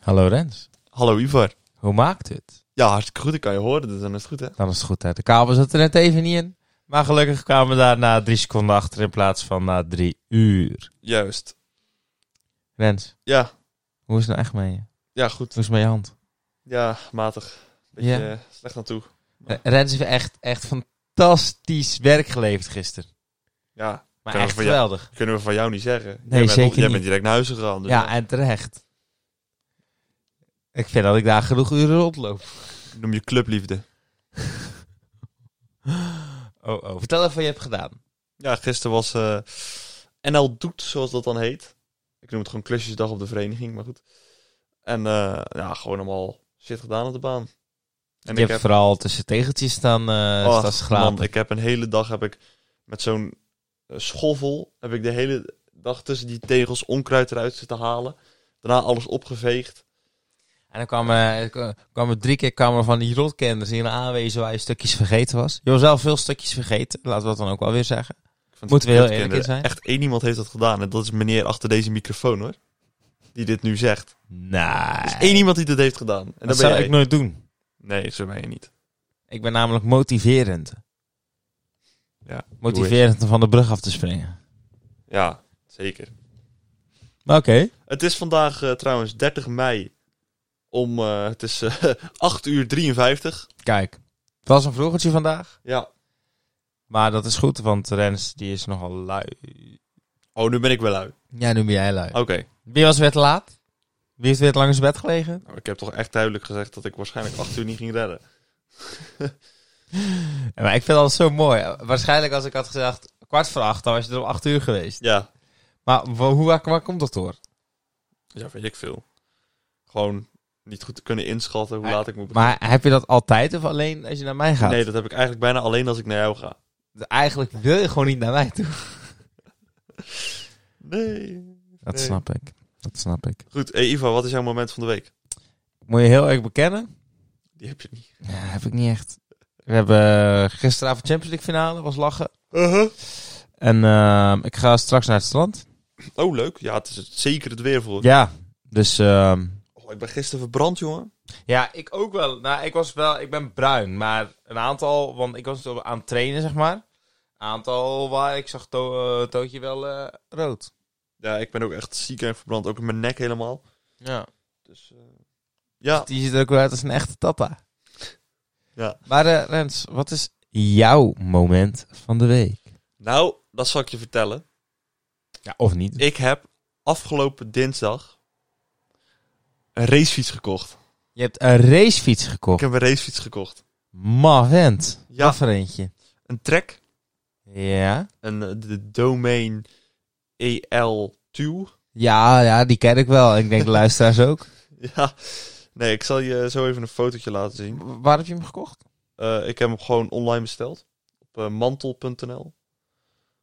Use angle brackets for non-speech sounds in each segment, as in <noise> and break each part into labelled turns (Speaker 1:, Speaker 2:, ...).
Speaker 1: Hallo Rens,
Speaker 2: Hallo Ivar.
Speaker 1: hoe maakt het?
Speaker 2: Ja, hartstikke goed. Ik kan je horen, dus dan is het goed, hè?
Speaker 1: Dan is het goed, hè? De kabel zat er net even niet in. Maar gelukkig kwamen we daar na drie seconden achter in plaats van na drie uur.
Speaker 2: Juist.
Speaker 1: Rens,
Speaker 2: Ja,
Speaker 1: hoe is het nou echt mee? Hoe
Speaker 2: ja, goed.
Speaker 1: is het met je hand?
Speaker 2: Ja, matig. Beetje
Speaker 1: Ja.
Speaker 2: eh, slecht aan toe.
Speaker 1: Eh, Rens heeft echt, echt fantastisch werk geleverd gisteren.
Speaker 2: Ja,
Speaker 1: Maar
Speaker 2: Kunnen
Speaker 1: echt
Speaker 2: we van jou-
Speaker 1: geweldig.
Speaker 2: kunnen we van jou niet zeggen. Jij
Speaker 1: Nee,
Speaker 2: bent,
Speaker 1: zeker
Speaker 2: Jij
Speaker 1: niet.
Speaker 2: bent direct naar huis gegaan. Dus
Speaker 1: Ja,
Speaker 2: ja,
Speaker 1: en terecht. Ik vind dat ik daar genoeg uren rondloop.
Speaker 2: Noem je clubliefde.
Speaker 1: Oh, oh. Vertel even wat je hebt gedaan.
Speaker 2: Ja, gisteren was eh, NL Doet, zoals dat dan heet. Ik noem het gewoon klusjesdag op de vereniging, maar goed. En eh, ja, gewoon allemaal shit gedaan op de baan. En
Speaker 1: je hebt vooral tussen tegeltjes staan, eh
Speaker 2: Och,
Speaker 1: staan schrapen.
Speaker 2: Oh, man, ik heb een hele dag heb ik met zo'n eh, schoffel heb ik de hele dag tussen die tegels onkruid eruit zitten halen. Daarna alles opgeveegd.
Speaker 1: En dan kwamen, eh, kwamen drie keer kwamen van die rotkenders die aanwezen waar je stukjes vergeten was. Je was zelf veel stukjes vergeten, laten we dat dan ook wel weer zeggen.
Speaker 2: Ik vind
Speaker 1: Moeten we
Speaker 2: het
Speaker 1: heel eerlijk
Speaker 2: kinderen-
Speaker 1: in zijn?
Speaker 2: Echt één iemand heeft dat gedaan en dat is meneer achter deze microfoon hoor. Die dit nu zegt.
Speaker 1: Nee.
Speaker 2: Er is één iemand die dit heeft gedaan. En
Speaker 1: Dus Eh. dat
Speaker 2: dat
Speaker 1: zou
Speaker 2: ben jij.
Speaker 1: ik nooit doen.
Speaker 2: Nee, zo ben je niet.
Speaker 1: Ik ben namelijk motiverend.
Speaker 2: Ja,
Speaker 1: Motiverend om van de brug af te springen.
Speaker 2: Ja, zeker.
Speaker 1: Maar oké.
Speaker 2: Het is vandaag eh, trouwens 30 mei om, eh, het is eh <laughs> 8 uur 53.
Speaker 1: Kijk, het was een vroegertje vandaag.
Speaker 2: Ja.
Speaker 1: Maar dat is goed, want Rens die is nogal lui.
Speaker 2: Oh, nu ben ik wel lui.
Speaker 1: Ja, nu ben jij lui.
Speaker 2: Oké.
Speaker 1: Wie was weer te laat? Wie heeft weer te lang in zijn bed gelegen?
Speaker 2: Nou, ik heb toch echt duidelijk gezegd dat ik waarschijnlijk 8 uur niet ging redden.
Speaker 1: Ja, Maar ik vind dat zo mooi. Waarschijnlijk als ik had gezegd kwart voor acht, dan was je er om acht uur geweest.
Speaker 2: Ja.
Speaker 1: Maar wa- hoe, waar, waar komt dat door?
Speaker 2: Ja, weet ik veel. Gewoon niet goed te kunnen inschatten hoe
Speaker 1: Maar-
Speaker 2: laat ik moet beginnen.
Speaker 1: Maar heb je dat altijd of alleen als je naar mij gaat? Dus
Speaker 2: Nee, dat heb ik eigenlijk bijna alleen als ik naar jou ga.
Speaker 1: Eigenlijk wil je gewoon niet naar mij toe.
Speaker 2: Nee.
Speaker 1: Dat
Speaker 2: Nee.
Speaker 1: snap ik. Dat snap ik.
Speaker 2: Goed, hey Ivo, wat is jouw moment van de week?
Speaker 1: Moet je heel erg bekennen?
Speaker 2: Die heb je niet.
Speaker 1: Ja, heb ik niet echt. We hebben eh, gisteravond Champions League finale, was lachen.
Speaker 2: Uh-huh.
Speaker 1: En ehm, ik ga straks naar het strand.
Speaker 2: Oh, leuk. Ja, het is het- zeker het weer voor.
Speaker 1: Ja, dus... ehm,
Speaker 2: Oh, ik ben gisteren verbrand, jongen.
Speaker 1: ja, ik ook wel. Nou, ik was wel... Ik ben bruin, maar een aantal... Want ik was dus aan het trainen, zeg maar. Aantal waar ik zag to- eh, Tootje wel eh, rood.
Speaker 2: Ja, ik ben ook echt ziek en verbrand. Ook in mijn nek helemaal.
Speaker 1: Ja.
Speaker 2: Dus, eh, ja.
Speaker 1: Die ziet er ook wel uit als een echte tata.
Speaker 2: Ja.
Speaker 1: Maar eh, Rens, wat is jouw moment van de week?
Speaker 2: Nou, dat zal ik je vertellen.
Speaker 1: Ja, of niet?
Speaker 2: Ik heb afgelopen dinsdag een racefiets gekocht.
Speaker 1: Je hebt een racefiets
Speaker 2: Ik
Speaker 1: gekocht.
Speaker 2: heb een racefiets gekocht.
Speaker 1: Ma vent.
Speaker 2: Ja.
Speaker 1: Wat voor eentje?
Speaker 2: Een trek.
Speaker 1: Ja.
Speaker 2: En eh, de domain E EL2.
Speaker 1: Ja, ja, die ken ik wel. Ik denk de <laughs> luisteraars ook.
Speaker 2: <laughs> Ja. Nee, ik zal je zo even een fotootje laten zien.
Speaker 1: W- Waar heb je hem gekocht?
Speaker 2: Eh, ik heb hem gewoon online besteld. Op eh, mantel.nl.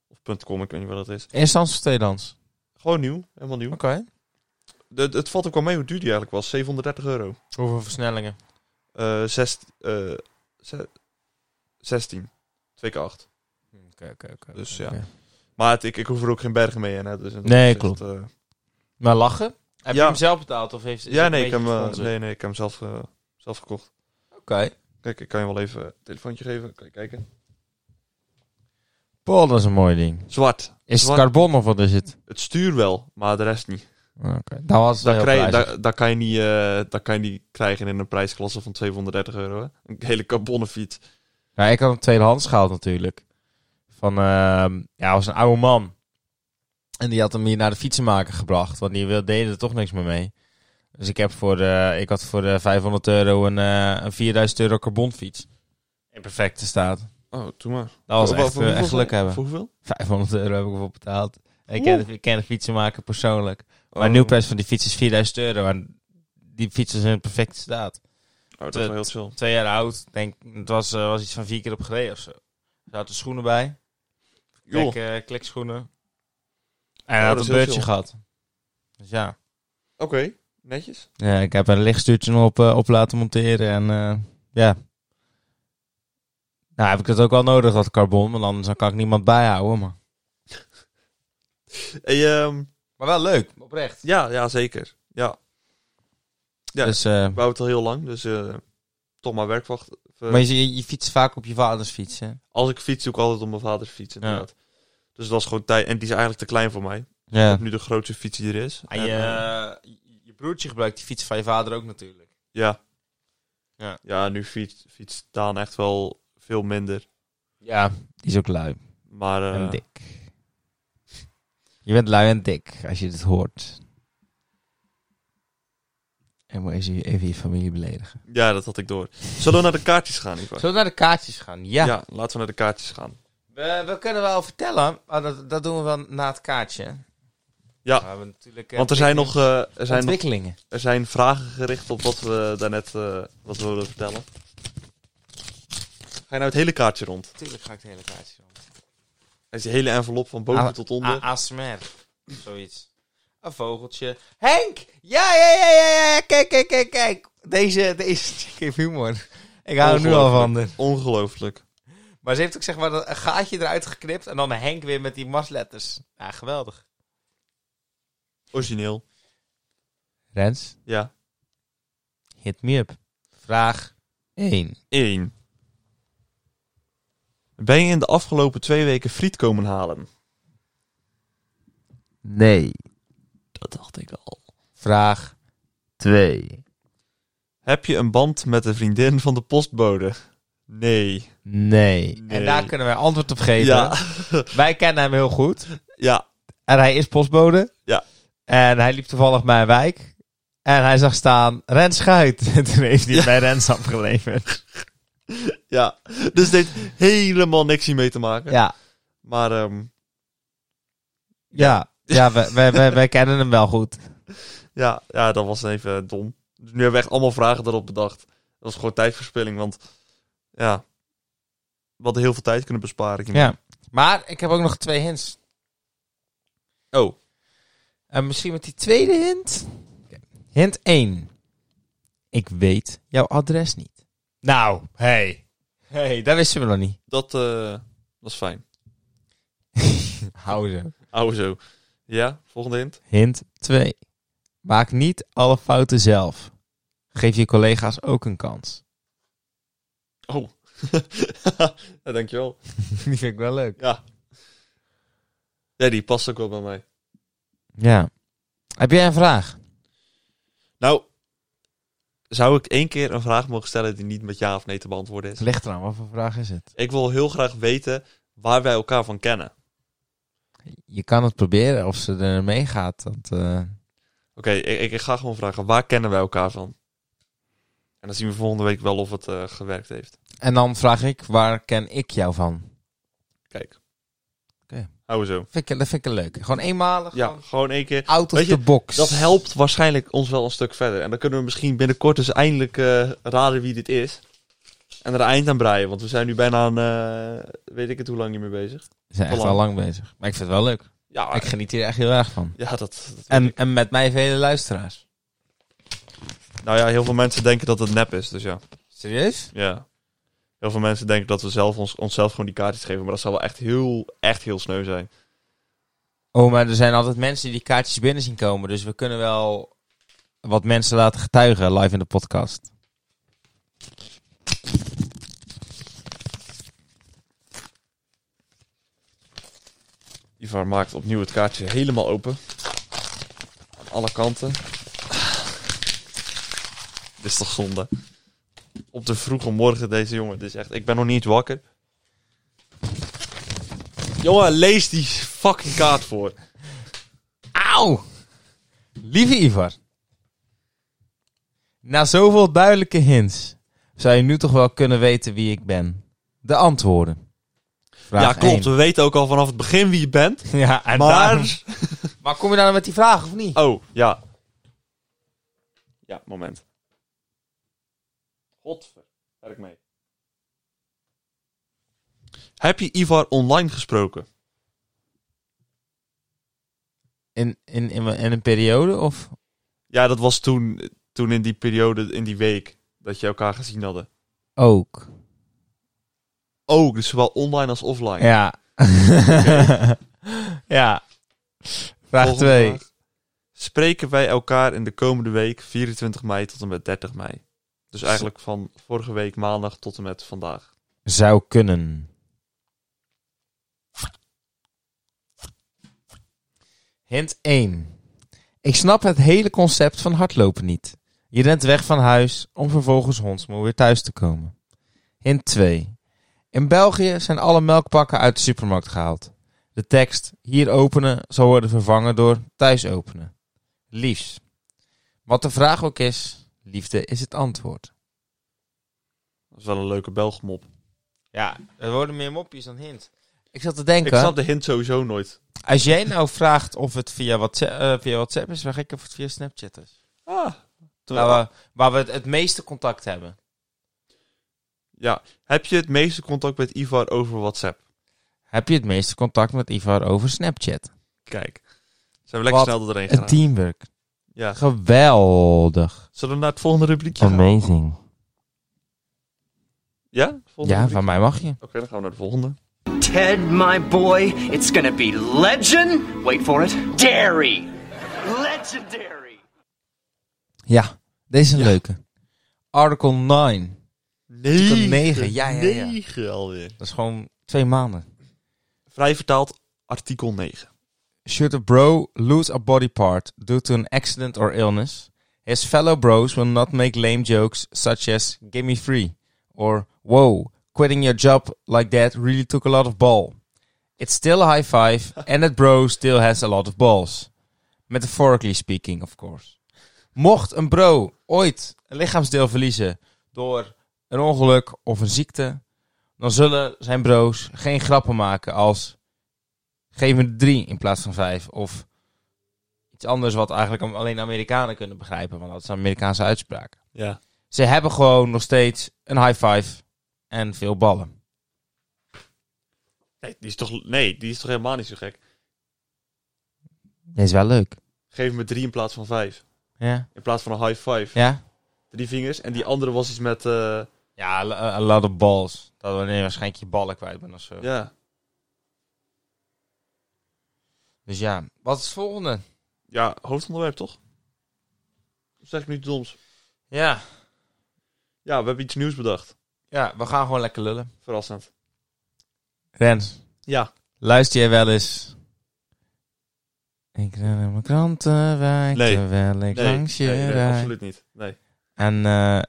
Speaker 2: Of .com, ik weet niet wat dat is.
Speaker 1: Eerstans of tweedans?
Speaker 2: Gewoon nieuw, helemaal nieuw. De, het valt ook wel mee hoe duur die eigenlijk was. 730 euro.
Speaker 1: Hoeveel versnellingen?
Speaker 2: Eh zes, eh, ze- 16. 2 keer 8.
Speaker 1: Oké, oké, oké.
Speaker 2: Dus ja. Maar het- ik, ik hoef er ook geen bergen mee in. Hè, dus in dat
Speaker 1: Nee,
Speaker 2: opzicht,
Speaker 1: klopt.
Speaker 2: eh,
Speaker 1: Maar lachen? Heb je
Speaker 2: Ja.
Speaker 1: hem zelf betaald? Of heeft, is
Speaker 2: ja,
Speaker 1: het een
Speaker 2: nee ik, heb,
Speaker 1: beetje
Speaker 2: hem, eh,
Speaker 1: gesponsord?
Speaker 2: nee, nee, ik heb hem zelf, eh, zelf gekocht.
Speaker 1: Oké.
Speaker 2: Kijk, ik kan je wel even een telefoontje geven. Kan je kijken.
Speaker 1: Paul, dat is een mooi ding.
Speaker 2: Zwart.
Speaker 1: Is het
Speaker 2: Wat-
Speaker 1: carbon of wat is het?
Speaker 2: Het stuur wel, maar de rest niet.
Speaker 1: Oké. Dat was
Speaker 2: Dat,
Speaker 1: heel
Speaker 2: krijg, je-
Speaker 1: prijzig.
Speaker 2: daar- daar kan je niet, eh, daar kan je niet krijgen in een prijsklasse van 230 euro. Hè? Een hele carbonnen fiets.
Speaker 1: Ja, ik had hem tweedehands gehaald natuurlijk. Van, ehm, ja, was een oude man. En die had hem hier naar de fietsenmaker gebracht. Want die wil- deden er toch niks meer mee. Dus ik, heb voor, eh, ik had voor eh, 500 euro een, eh, een 4000 euro carbonfiets. In perfecte staat.
Speaker 2: Oh, doe maar.
Speaker 1: Dat was
Speaker 2: Voor-
Speaker 1: echt,
Speaker 2: voor
Speaker 1: eh,
Speaker 2: hoeveel-
Speaker 1: echt geluk hebben.
Speaker 2: Voor hoeveel?
Speaker 1: 500 euro heb ik ervoor betaald. En Ik ken, de, ik ken de fietsenmaker persoonlijk. Maar
Speaker 2: Oh.
Speaker 1: de nieuwprijs van die fiets is 4000 euro. En die fiets is in perfecte staat.
Speaker 2: Oh, dat is wel heel chill.
Speaker 1: Twee jaar oud. Ik Denk, het was, eh, was iets van vier keer op gereden of zo. Er zaten schoenen bij.
Speaker 2: Joh,
Speaker 1: Klik, eh, klikschoenen. En
Speaker 2: Oh,
Speaker 1: hij
Speaker 2: dat
Speaker 1: had
Speaker 2: is
Speaker 1: een
Speaker 2: heel
Speaker 1: beurtje
Speaker 2: chill.
Speaker 1: gehad. Dus ja.
Speaker 2: oké. Netjes.
Speaker 1: ja. Ik heb er een lichtstuurtje nog op, eh, op laten monteren. En eh, ja. Nou heb ik dat ook wel nodig, dat carbon. Want anders dan kan ik niemand bijhouden. Maar...
Speaker 2: Hey, ehm,
Speaker 1: Maar wel leuk, oprecht.
Speaker 2: Ja, ja zeker. Ja, Ja.
Speaker 1: Dus, eh,
Speaker 2: we houden het al heel lang, dus eh, toch maar werkwacht. of, eh,
Speaker 1: maar je, je fietst vaak op je vaders fiets, hè?
Speaker 2: Als ik fiets, doe ik altijd op mijn vaders fiets, inderdaad. Dus dat was gewoon tijd. En die is eigenlijk te klein voor mij. Ik
Speaker 1: Ja.
Speaker 2: heb nu de grootste fiets die er is.
Speaker 1: En je,
Speaker 2: En, eh,
Speaker 1: je broertje gebruikt die fiets van je vader ook natuurlijk.
Speaker 2: ja.
Speaker 1: Ja.
Speaker 2: ja, nu fiets, fietst Daan echt wel veel minder.
Speaker 1: Ja, die is ook lui.
Speaker 2: Maar eh,
Speaker 1: En dik. Je bent lui en dik als je dit hoort. En moet je even je familie beledigen.
Speaker 2: ja, dat had ik door. Zullen we naar de kaartjes gaan, Ivar?
Speaker 1: Zullen we naar de kaartjes gaan? Ja.
Speaker 2: laten we naar de kaartjes gaan.
Speaker 1: We, we kunnen wel vertellen, maar dat, dat doen we wel na het kaartje.
Speaker 2: Ja.
Speaker 1: We hebben natuurlijk, eh,
Speaker 2: Want er zijn nog, eh, er zijn nog
Speaker 1: ontwikkelingen.
Speaker 2: er zijn vragen gericht op wat we daarnet eh wat we wilden vertellen. Ga je nou het hele kaartje rond?
Speaker 1: Natuurlijk ga ik het hele kaartje doen.
Speaker 2: Er is die hele envelop van boven
Speaker 1: Ah,
Speaker 2: tot onder.
Speaker 1: A- ASMR. Zoiets. Een vogeltje. Henk! Ja, ja, ja, ja, ja. Kijk, kijk, kijk, kijk. Deze, deze <laughs> chick heeft humor. Ik hou er nu al van. haar.
Speaker 2: Ongelooflijk.
Speaker 1: Maar ze heeft ook zeg maar dat- een gaatje eruit geknipt en dan Henk weer met die masletters. Ja, geweldig.
Speaker 2: Origineel.
Speaker 1: Rens,
Speaker 2: Ja.
Speaker 1: hit me up. Vraag 1.
Speaker 2: 1. Ben je in de afgelopen twee weken friet komen halen?
Speaker 1: Nee.
Speaker 2: Dat dacht ik al.
Speaker 1: Vraag 2.
Speaker 2: Heb je een band met de vriendin van de postbode? Nee.
Speaker 1: Nee.
Speaker 2: Nee.
Speaker 1: En daar kunnen wij antwoord op geven.
Speaker 2: Ja. <laughs>
Speaker 1: Wij kennen hem heel goed.
Speaker 2: Ja.
Speaker 1: En hij is postbode.
Speaker 2: Ja.
Speaker 1: En hij liep toevallig mijn wijk. En hij zag staan, Rens Schuit. <laughs> En toen heeft hij het bij Rens afgeleverd.
Speaker 2: Ja. Dus dit heeft helemaal niks hiermee te maken.
Speaker 1: Ja,
Speaker 2: Maar ehm,
Speaker 1: ja. Ja, wij, wij, wij, wij kennen hem wel goed.
Speaker 2: Ja, ja, dat was even dom. Dus nu hebben we echt allemaal vragen erop bedacht. Dat was gewoon tijdverspilling, want ja, we hadden heel veel tijd kunnen besparen. hiermee.
Speaker 1: Ja. Maar ik heb ook nog twee hints.
Speaker 2: Oh,
Speaker 1: En misschien met die tweede hint. Hint 1. Ik weet jouw adres niet. Nou, hey. hey, dat wisten we nog niet.
Speaker 2: dat eh, was fijn.
Speaker 1: Hou ze.
Speaker 2: Oude zo. Ja, volgende hint. <laughs>
Speaker 1: Hint 2. Maak niet alle fouten zelf. Geef je collega's ook een kans.
Speaker 2: Oh, ja, dankjewel.
Speaker 1: <laughs> Die vind ik wel leuk.
Speaker 2: Ja. ja, die past ook wel bij mij.
Speaker 1: Ja. Heb jij een vraag?
Speaker 2: Nou, zou ik één keer een vraag mogen stellen die niet met ja of nee te beantwoorden is?
Speaker 1: Ligt eraan, wat voor vraag is het?
Speaker 2: Ik wil heel graag weten waar wij elkaar van kennen.
Speaker 1: Je kan het proberen of ze er mee gaat. Dat, eh,
Speaker 2: Oké, ik, ik ga gewoon vragen, waar kennen wij elkaar van? En dan zien we volgende week wel of het eh, gewerkt heeft.
Speaker 1: En dan vraag ik, waar ken ik jou van?
Speaker 2: Kijk.
Speaker 1: Oké.
Speaker 2: Houden we zo.
Speaker 1: Vind ik, dat vind ik een leuk. Gewoon eenmalig.
Speaker 2: Ja,
Speaker 1: Gewoon
Speaker 2: gewoon één keer.
Speaker 1: out of
Speaker 2: Weet je,
Speaker 1: the box.
Speaker 2: Dat helpt waarschijnlijk ons wel een stuk verder. En dan kunnen we misschien binnenkort dus eindelijk eh, raden wie dit is. En er een eind aan breien, want we zijn nu bijna een, eh, weet ik het hoe lang niet meer bezig.
Speaker 1: We zijn echt
Speaker 2: Belang.
Speaker 1: al lang bezig. Maar ik vind het wel leuk.
Speaker 2: Ja,
Speaker 1: Ik geniet hier echt heel erg van.
Speaker 2: ja dat, dat-
Speaker 1: Ah, En, en met mij vele luisteraars.
Speaker 2: Nou ja, heel veel mensen denken dat het nep is, dus ja.
Speaker 1: Serieus?
Speaker 2: Ja. Heel veel mensen denken dat we zelf ons, onszelf gewoon die kaartjes geven, maar dat zou wel echt heel, echt heel sneu zijn.
Speaker 1: Oh, maar er zijn altijd mensen die kaartjes binnen zien komen. Dus we kunnen wel wat mensen laten getuigen live in de podcast.
Speaker 2: Ivar maakt opnieuw het kaartje helemaal open. Aan alle kanten. <sighs> Dit is toch zonde. Op de vroege morgen deze jongen. Dit is echt, ik ben nog niet eens wakker. Jongen, lees die fucking kaart voor.
Speaker 1: Auw! Lieve Ivar. Na zoveel duidelijke hints zou je nu toch wel kunnen weten wie ik ben. De antwoorden. Vraag
Speaker 2: ja, klopt.
Speaker 1: één.
Speaker 2: We weten ook al vanaf het begin wie je bent.
Speaker 1: Ja, en
Speaker 2: maar...
Speaker 1: daarom- Maar kom je dan met die vraag of niet?
Speaker 2: Oh, ja. Ja, moment. Godver. Werk mee. Heb je Ivar online gesproken?
Speaker 1: In, in, in, in een periode of?
Speaker 2: Ja, dat was toen, toen in die periode, in die week, dat je elkaar gezien hadden.
Speaker 1: Ook.
Speaker 2: Ook, dus zowel online
Speaker 1: <laughs>
Speaker 2: als offline.
Speaker 1: Ja. ja. Vraag
Speaker 2: Volgende
Speaker 1: 2.
Speaker 2: vraag. spreken wij elkaar in de komende week 24 mei tot en met 30 mei. Dus eigenlijk van vorige week maandag tot en met vandaag.
Speaker 1: Zou kunnen. Hint 1. Ik snap het hele concept van hardlopen niet. Je rent weg van huis om vervolgens hondsmoe weer thuis te komen. Hint 2. In België zijn alle melkpakken uit de supermarkt gehaald. De tekst hier openen zal worden vervangen door thuis openen. Liefs. Wat de vraag ook is, liefde is het antwoord.
Speaker 2: Dat is wel een leuke Belgemop.
Speaker 1: Ja, er worden meer mopjes dan hint. Ik zat te
Speaker 2: Ik
Speaker 1: denken,
Speaker 2: snap de hint sowieso nooit.
Speaker 1: als jij nou vraagt of het via WhatsApp, eh, via WhatsApp is, vraag ik of het via Snapchat is.
Speaker 2: Ah,
Speaker 1: Waar we, waar we het, het meeste contact hebben.
Speaker 2: Ja. Heb je het meeste contact met Ivar over WhatsApp?
Speaker 1: Heb je het meeste contact met Ivar over Snapchat?
Speaker 2: Kijk. Zijn we lekker
Speaker 1: Wat
Speaker 2: snel erheen
Speaker 1: Een
Speaker 2: gegaan.
Speaker 1: teamwork.
Speaker 2: Ja.
Speaker 1: Geweldig.
Speaker 2: Zullen we naar het volgende rubriekje gaan?
Speaker 1: Amazing.
Speaker 2: Ja? Volgende
Speaker 1: Ja,
Speaker 2: rubriekje?
Speaker 1: van mij mag je.
Speaker 2: Oké, dan gaan we naar de volgende.
Speaker 3: Ted, my boy, it's gonna be legend. Wait for it. Dairy. Legendary.
Speaker 1: Ja, deze is een leuke. Article 9.
Speaker 2: Negen.
Speaker 1: negen, ja, ja, ja.
Speaker 2: Negen alweer.
Speaker 1: Dat is gewoon twee maanden.
Speaker 2: Vrij vertaald, artikel 9.
Speaker 1: Should a bro lose a body part due to an accident or illness, his fellow bros will not make lame jokes such as "Give me free" or "Whoa, quitting your job like that really took a lot of ball." It's still a high five, and that bro still has a lot of balls. Metaphorically speaking, of course. Mocht een bro ooit een lichaamsdeel verliezen door een ongeluk of een ziekte, dan zullen zijn bro's geen grappen maken als geef me drie in plaats van vijf. Of iets anders wat eigenlijk am- alleen Amerikanen kunnen begrijpen, want dat is een Amerikaanse uitspraak.
Speaker 2: Ja.
Speaker 1: Ze hebben gewoon nog steeds een high five en veel ballen.
Speaker 2: Nee die, is toch, nee, die is toch helemaal niet zo gek.
Speaker 1: Dat is wel leuk.
Speaker 2: Geef me drie in plaats van vijf.
Speaker 1: Ja?
Speaker 2: In plaats van een high five.
Speaker 1: Ja?
Speaker 2: Drie vingers. En die andere was iets met... eh,
Speaker 1: Ja, a- a lot of balls. Dat wanneer je waarschijnlijk je ballen kwijt bent of zo.
Speaker 2: ja.
Speaker 1: Dus ja, wat is het volgende?
Speaker 2: ja, hoofdonderwerp toch? Of zeg ik nu iets doms?
Speaker 1: Ja.
Speaker 2: Ja, we hebben iets nieuws bedacht.
Speaker 1: ja, we gaan gewoon lekker lullen.
Speaker 2: Verrassend.
Speaker 1: Rens,
Speaker 2: Ja.
Speaker 1: luister jij wel eens... Ik ren in mijn krantenwijk,
Speaker 2: Nee.
Speaker 1: terwijl ik langs je
Speaker 2: nee, nee,
Speaker 1: rijd.
Speaker 2: absoluut niet. Nee.
Speaker 1: En eh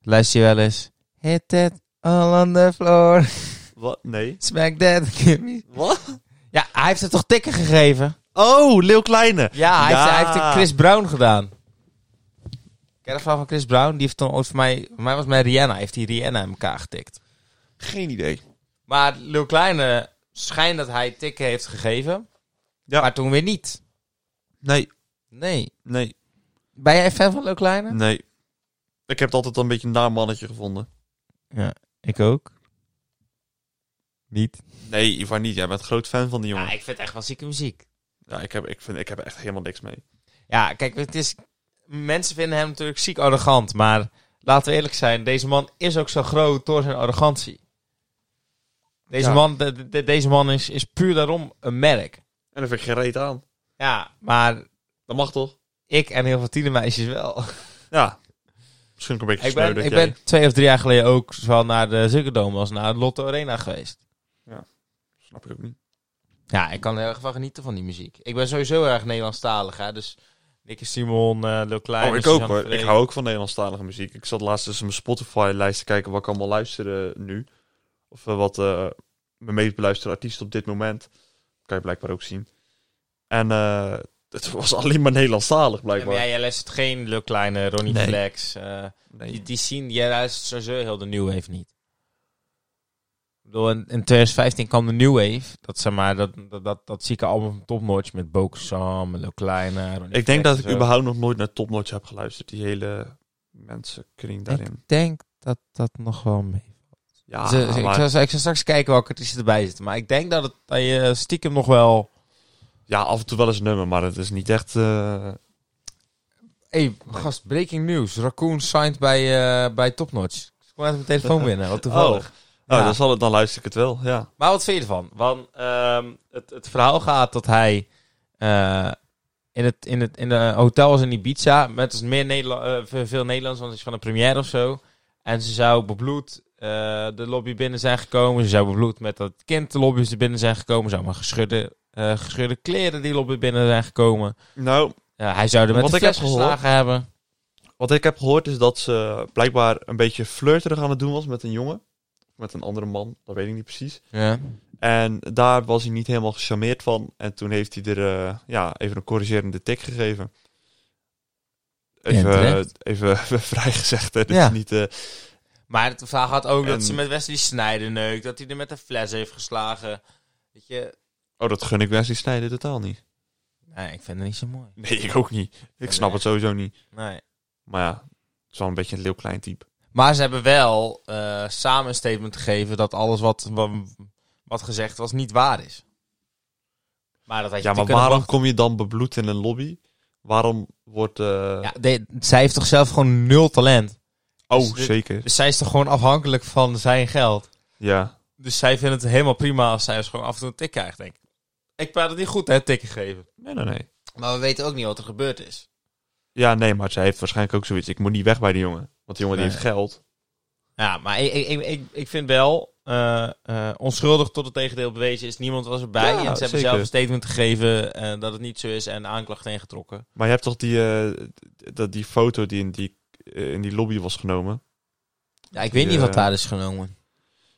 Speaker 1: luister je wel eens... Hit that all on the floor. <laughs>
Speaker 2: Wat? Nee.
Speaker 1: Smack that. give me-
Speaker 2: Wat?
Speaker 1: Ja, hij heeft het toch tikken gegeven?
Speaker 2: Oh, Leeuw Kleine.
Speaker 1: Ja, hij, Heeft,
Speaker 2: Ja.
Speaker 1: hij heeft een Chris Brown gedaan. Ken je dat verhaal van Chris Brown? Die heeft dan ooit voor mij... Voor mij was het met Rihanna. Heeft hij Rihanna in elkaar getikt.
Speaker 2: Geen idee.
Speaker 1: Maar Lil Kleine schijnt dat hij tikken heeft gegeven.
Speaker 2: Ja.
Speaker 1: Maar toen weer niet.
Speaker 2: Nee,
Speaker 1: Nee.
Speaker 2: nee,
Speaker 1: Ben jij fan van Lil Kleine?
Speaker 2: nee. Ik heb het altijd al een beetje een naar mannetje gevonden.
Speaker 1: Ik ook. Niet.
Speaker 2: Nee, Ivar niet. Jij bent groot fan van die jongen.
Speaker 1: Ja, ik vind het echt wel zieke muziek.
Speaker 2: Ja, ik heb, ik, vind, ik heb echt helemaal niks mee.
Speaker 1: Ja, kijk, het is... Mensen vinden hem natuurlijk ziek arrogant, maar laten we eerlijk zijn, deze man is ook zo groot door zijn arrogantie. Deze
Speaker 2: Ja.
Speaker 1: man, de- de- deze man is, is puur daarom een merk.
Speaker 2: En daar vind ik geen reet aan.
Speaker 1: Ja, maar
Speaker 2: Dat mag toch?
Speaker 1: ik en heel veel tienermeisjes wel. <laughs>
Speaker 2: Ja. Misschien ook een beetje
Speaker 1: Ik ben,
Speaker 2: sneu
Speaker 1: ik
Speaker 2: dat jij-
Speaker 1: ben twee of drie jaar geleden ook zowel naar de Ziggo Dome als naar de Lotto Arena geweest.
Speaker 2: Snap ik ook niet.
Speaker 1: Ja, ik kan er heel erg van genieten van die muziek. Ik ben sowieso erg Nederlandstalig, hè. Dus Nicky Simon, eh Lil Klein...
Speaker 2: oh, ik ook
Speaker 1: Suzanne
Speaker 2: hoor. Ik
Speaker 1: Freek.
Speaker 2: hou ook van Nederlandstalige muziek. Ik zat laatst eens mijn Spotify-lijst te kijken wat ik allemaal luister eh, nu. Of eh, wat eh, mijn meest beluisterde artiest op dit moment. Kan je blijkbaar ook zien. En eh, het was <laughs> alleen maar Nederlandstalig
Speaker 1: Ja, maar
Speaker 2: blijkbaar.
Speaker 1: jij, jij luistert geen Lil Kleine, Ronnie
Speaker 2: Nee.
Speaker 1: Flex... eh, Die,
Speaker 2: Nee.
Speaker 1: die scene, jij luistert sowieso heel de New Wave niet. Ik bedoel, in, in 2015 kwam de New Wave. Dat, zeg maar, dat, dat, dat, dat zieke album van Top Notch met Bokusam, Lil Kleine... Ronnie
Speaker 2: Ik
Speaker 1: Flex
Speaker 2: denk dat
Speaker 1: en
Speaker 2: ik
Speaker 1: zo.
Speaker 2: überhaupt nog nooit naar Top Notch heb geluisterd. Die hele mensenkring daarin.
Speaker 1: Ik denk dat dat nog wel mee...
Speaker 2: Ja,
Speaker 1: Ze- ze- ik,
Speaker 2: Ah, maar-
Speaker 1: zou, ik zou straks kijken welke artiesten erbij zitten. Maar ik denk dat, het, dat je stiekem nog wel...
Speaker 2: ja, af en toe wel eens een nummer, maar het is niet echt... eh,
Speaker 1: hey, gast, breaking news. Raccoon signed bij, eh, bij Top Notch. Ik kon net mijn telefoon binnen, wat toevallig.
Speaker 2: Oh,
Speaker 1: Ja.
Speaker 2: dan, zal het, dan luister ik het wel, ja.
Speaker 1: Maar wat vind je ervan? Want ehm, het, het verhaal gaat dat hij eh, in het, in het in de hotel in Ibiza. Met dus meer Nederla eh, veel- veel Nederlands, want het is van een première of zo. En ze zou bebloed eh, de lobby binnen zijn gekomen. Ze zou bebloed met dat kind de lobby binnen zijn gekomen. Ze zou maar geschudde, eh, geschudde kleren die lobby binnen zijn gekomen.
Speaker 2: Nou,
Speaker 1: Ja, hij zou er met
Speaker 2: Wat
Speaker 1: de
Speaker 2: ik heb
Speaker 1: fles
Speaker 2: gehoord-
Speaker 1: geslagen hebben.
Speaker 2: wat ik heb gehoord is dat ze blijkbaar een beetje flirterig aan het doen was met een jongen. Met een andere man, dat weet ik niet precies.
Speaker 1: Ja.
Speaker 2: En daar was hij niet helemaal gecharmeerd van. En toen heeft hij er eh, ja, even een corrigerende tik gegeven. Even, eh,
Speaker 1: terecht.
Speaker 2: even <laughs> vrij gezegd, hè. Dit
Speaker 1: Ja.
Speaker 2: is niet... eh,
Speaker 1: Maar het verhaal had ook dat
Speaker 2: En-
Speaker 1: ze met Wesley Snijder neukt. Dat hij er met een fles heeft geslagen. Weet je...
Speaker 2: oh, dat gun ik Wesley Snijder totaal niet. <laughs>
Speaker 1: Nee, ik vind het niet zo mooi.
Speaker 2: Nee, ik ook niet. Ik snap het sowieso niet.
Speaker 1: Nee.
Speaker 2: Maar ja, het is wel een beetje een heel klein type.
Speaker 1: Maar ze hebben wel eh, samen een statement gegeven dat alles wat, wat, wat gezegd was niet waar is. Maar dat had je
Speaker 2: Ja, maar
Speaker 1: natuurlijk
Speaker 2: waarom
Speaker 1: kunnen
Speaker 2: kom je dan bebloed in een lobby? Waarom wordt... eh,
Speaker 1: verwachten. Ja, de- zij heeft toch zelf gewoon nul talent.
Speaker 2: oh,
Speaker 1: dus-
Speaker 2: zeker.
Speaker 1: Dus zij is toch gewoon afhankelijk van zijn geld.
Speaker 2: Ja.
Speaker 1: Dus zij vindt het helemaal prima als zij dus gewoon af en toe een tik krijgt, denk ik. Ik praat het niet goed, hè, tikken geven.
Speaker 2: Nee, nee, nee.
Speaker 1: Maar we weten ook niet wat er gebeurd is.
Speaker 2: Ja, nee, maar zij heeft waarschijnlijk ook zoiets. Ik moet niet weg bij die jongen. Want die jongen die
Speaker 1: Nee.
Speaker 2: heeft geld.
Speaker 1: Ja, maar ik, ik, ik, ik, ik vind wel, eh, eh, onschuldig tot het tegendeel bewezen is. Niemand was erbij. en
Speaker 2: Ja,
Speaker 1: ze hebben
Speaker 2: zeker.
Speaker 1: zelf een statement gegeven eh, dat het niet zo is en aanklacht ingetrokken.
Speaker 2: Maar je hebt toch die, eh, dat die foto die in die, eh, in die lobby was genomen?
Speaker 1: Ja, ik weet
Speaker 2: Die,
Speaker 1: niet wat
Speaker 2: eh,
Speaker 1: daar is genomen.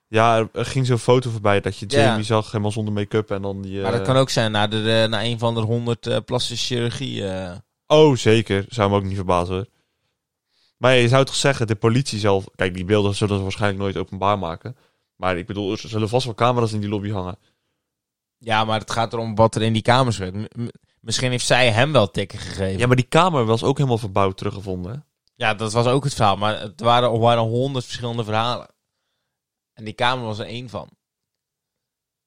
Speaker 2: Ja, er, er ging zo'n foto voorbij dat je
Speaker 1: Ja.
Speaker 2: Jamie zag helemaal zonder make-up en dan die... eh,
Speaker 1: maar dat kan ook zijn na, de, de- na een van de honderd eh plastische chirurgie. eh.
Speaker 2: Oh, zeker. Zou me ook niet verbazen hoor. Maar je zou toch zeggen, de politie zelf... Kijk, die beelden zullen ze waarschijnlijk nooit openbaar maken. Maar ik bedoel, er zullen vast wel camera's in die lobby hangen.
Speaker 1: Ja, maar het gaat erom wat er in die kamers werd. M- m- misschien heeft zij hem wel tikken gegeven. Ja,
Speaker 2: Ja, maar die kamer was ook helemaal verbouwd teruggevonden. hè?
Speaker 1: dat was ook het verhaal. Maar het waren, er waren honderd verschillende verhalen. En die kamer was er één van.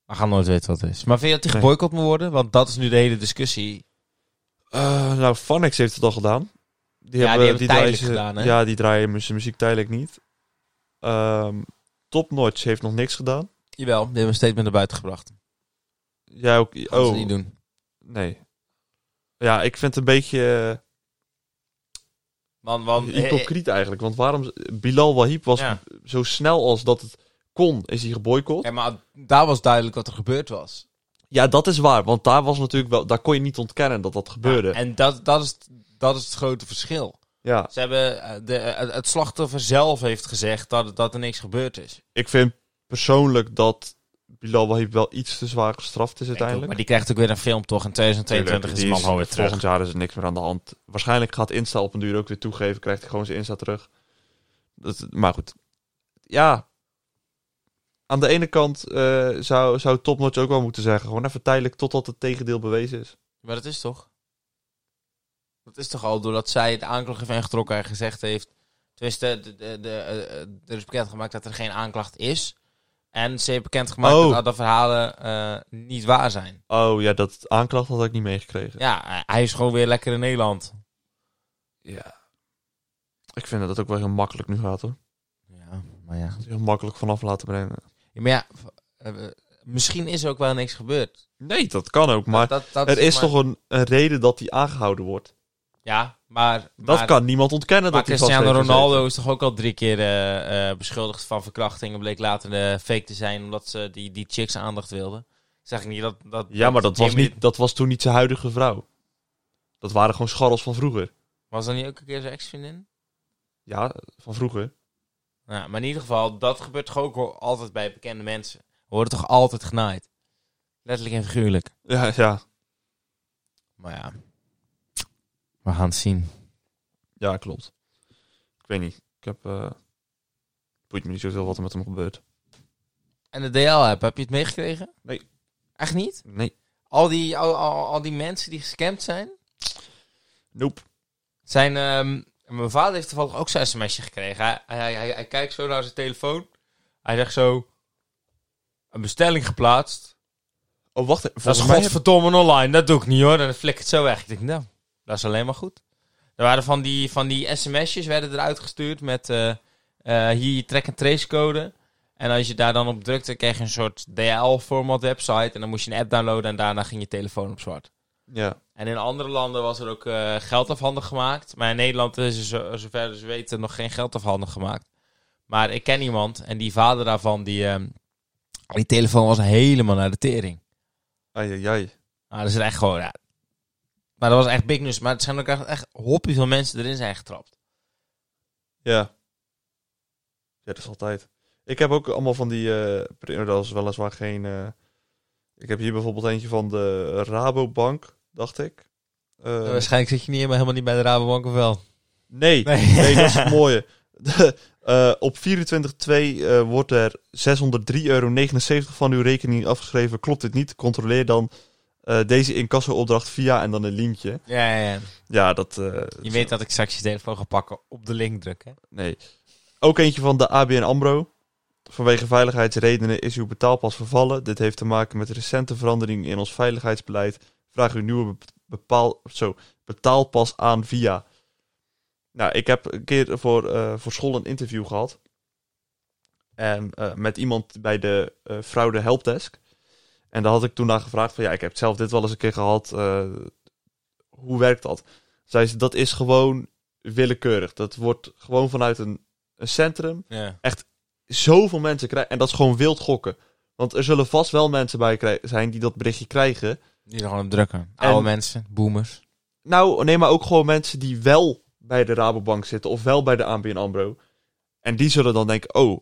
Speaker 1: We gaan nooit weten wat het is. Maar vind je dat die
Speaker 2: Nee.
Speaker 1: geboycott moet worden? Want dat is nu de hele discussie.
Speaker 2: Eh, nou, Fanex heeft het al gedaan.
Speaker 1: Ja,
Speaker 2: Die
Speaker 1: die hebben
Speaker 2: draaien
Speaker 1: tijdelijk
Speaker 2: ze-
Speaker 1: gedaan, hè?
Speaker 2: Ja, die draaien mu- zijn muziek tijdelijk niet. Ehm Top Notch heeft nog niks gedaan.
Speaker 1: Jawel, die hebben een statement naar buiten gebracht.
Speaker 2: Jij ook...
Speaker 1: Dat oh.
Speaker 2: oh,
Speaker 1: ze niet doen.
Speaker 2: nee. Ja, ik vind het een beetje
Speaker 1: Want,
Speaker 2: eh,
Speaker 1: want
Speaker 2: hypocriet eigenlijk. Want waarom... Bilal Wahib was
Speaker 1: Ja.
Speaker 2: zo snel als dat het kon, is hij geboycott.
Speaker 1: Ja, eh, maar daar was duidelijk wat er gebeurd was.
Speaker 2: Ja, dat is waar. Want daar was natuurlijk wel... Daar kon je niet ontkennen dat dat gebeurde. Ja,
Speaker 1: En dat, dat, is, dat is het grote verschil. Ze hebben, eh, de, eh, het slachtoffer zelf heeft gezegd dat, dat er niks gebeurd is.
Speaker 2: ik vind persoonlijk dat Bilal Wahib wel iets te zwaar gestraft is uiteindelijk.
Speaker 1: Maar die krijgt ook weer een film toch. En 2022 is
Speaker 2: Tuurlijk,
Speaker 1: de
Speaker 2: die
Speaker 1: man gewoon weer terug.
Speaker 2: Volgend jaar is er niks meer aan de hand. Waarschijnlijk gaat Insta op een duur ook weer toegeven. Krijgt hij gewoon zijn Insta terug. Dat, maar goed. Ja. Aan de ene kant eh, zou, zou Topnotch ook wel moeten zeggen. Gewoon even tijdelijk totdat het tegendeel bewezen is.
Speaker 1: Maar dat is toch? Dat is toch al doordat zij het aanklacht heeft ingetrokken en gezegd heeft... Tenminste, de, de, de, eh, eh, er is bekendgemaakt dat er geen aanklacht is. En ze heeft bekendgemaakt
Speaker 2: Oh.
Speaker 1: dat alle verhalen eh, niet waar zijn.
Speaker 2: Oh ja, dat aanklacht had ik niet meegekregen.
Speaker 1: Ja, hij- hij is gewoon weer lekker in Nederland.
Speaker 2: Ja. Ik vind dat het ook wel heel makkelijk nu gaat hoor.
Speaker 1: Ja, maar ja.
Speaker 2: Heel makkelijk vanaf laten brengen.
Speaker 1: Ja, maar ja, v- eh, eh, misschien is er ook wel niks gebeurd.
Speaker 2: Nee, dat kan ook. Maar
Speaker 1: dat, dat
Speaker 2: er
Speaker 1: zeg
Speaker 2: is
Speaker 1: maar-
Speaker 2: toch een, een reden dat hij aangehouden wordt.
Speaker 1: Ja, maar...
Speaker 2: Dat
Speaker 1: maar,
Speaker 2: kan niemand ontkennen
Speaker 1: Maar
Speaker 2: dat hij vast
Speaker 1: Cristiano
Speaker 2: heeft gezeten.
Speaker 1: Ronaldo is toch ook al drie keer eh, eh, beschuldigd van verkrachting... en bleek later eh, fake te zijn omdat ze die, die chicks aandacht wilden. Zeg ik niet dat... dat
Speaker 2: Ja, maar dat was,
Speaker 1: Jimmy-
Speaker 2: niet, dat was toen niet zijn huidige vrouw. Dat waren gewoon scharrels van vroeger.
Speaker 1: Was dat niet ook een keer zijn ex-vriendin?
Speaker 2: Ja, van vroeger.
Speaker 1: Nou, maar in ieder geval, dat gebeurt toch ook wel altijd bij bekende mensen. We worden toch altijd genaaid? Letterlijk en figuurlijk.
Speaker 2: Ja, ja.
Speaker 1: Maar ja... We gaan het zien.
Speaker 2: ja klopt. Ik weet niet. Ik heb... eh boeit me niet zoveel wat er met hem gebeurt.
Speaker 1: En de DL-app, heb je het meegekregen?
Speaker 2: Nee.
Speaker 1: Echt niet?
Speaker 2: Nee.
Speaker 1: Al die, al, al, al die mensen die gescamd zijn.
Speaker 2: Nope.
Speaker 1: zijn ehm, mijn vader heeft toevallig ook zo'n sms'je gekregen. Hij, hij, hij, hij kijkt zo naar zijn telefoon. Hij zegt zo... Een bestelling geplaatst.
Speaker 2: Oh, wacht. even.
Speaker 1: Dat is
Speaker 2: Volgens mij heb-
Speaker 1: godverdomme online. Dat doe ik niet hoor. En dan flikkert het zo weg. Ik denk, nou, dat is alleen maar goed. Er waren van die, van die sms'jes werden eruit gestuurd met... eh, eh, hier je track- en tracecode. En als je daar dan op drukte, kreeg je een soort DHL-format website. En dan moest je een app downloaden en daarna ging je telefoon op zwart.
Speaker 2: Ja.
Speaker 1: En in andere landen was er ook eh, geld afhandig gemaakt. Maar in Nederland is er, zo- zover ze weten, nog geen geld afhandig gemaakt. Maar ik ken iemand en die vader daarvan, die, ehm, die telefoon was helemaal naar de tering.
Speaker 2: Ai, ai, ai.
Speaker 1: Maar dat is echt gewoon... Ja. Maar dat was echt big news. Maar het zijn ook echt, echt hoppie van mensen erin zijn getrapt.
Speaker 2: Ja. Ja, dat is altijd. Ik heb ook allemaal van die... eh print- dat is weliswaar geen... eh, ik heb hier bijvoorbeeld eentje van de Rabobank, dacht ik. Eh,
Speaker 1: Waarschijnlijk zit je niet helemaal, helemaal niet bij de Rabobank of wel?
Speaker 2: nee,
Speaker 1: Nee.
Speaker 2: nee. dat is het mooie. <laughs> De, eh, op 24-2 eh, wordt er 603,79 euro van uw rekening afgeschreven. Klopt dit niet? Controleer dan eh, deze incasso-opdracht via en dan een linkje.
Speaker 1: Ja, ja, ja.
Speaker 2: Ja, dat... eh,
Speaker 1: Je weet dat ik straks je telefoon ga pakken op de link drukken.
Speaker 2: Nee. Ook eentje van de ABN AMRO. Vanwege veiligheidsredenen is uw betaalpas vervallen. Dit heeft te maken met recente veranderingen in ons veiligheidsbeleid. Vraag uw nieuwe be- bepaal, zo, betaalpas aan via. Nou, ik heb een keer voor, eh, voor school een interview gehad. En eh, met iemand bij de eh, fraude helpdesk. En daar had ik toen naar gevraagd van ja, ik heb zelf dit wel eens een keer gehad. eh, hoe werkt dat? Zei ze, dat is gewoon willekeurig. Dat wordt gewoon vanuit een, een centrum.
Speaker 1: Ja.
Speaker 2: Zoveel mensen krijgen. En dat is gewoon wild gokken. Want er zullen vast wel mensen bij krij- zijn die dat berichtje krijgen.
Speaker 1: Die er gewoon op drukken.
Speaker 2: En-
Speaker 1: Oude mensen, boomers.
Speaker 2: Nou, nee, maar ook gewoon mensen die wel bij de Rabobank zitten. Of wel bij de ABN AMRO. En die zullen dan denken, oh,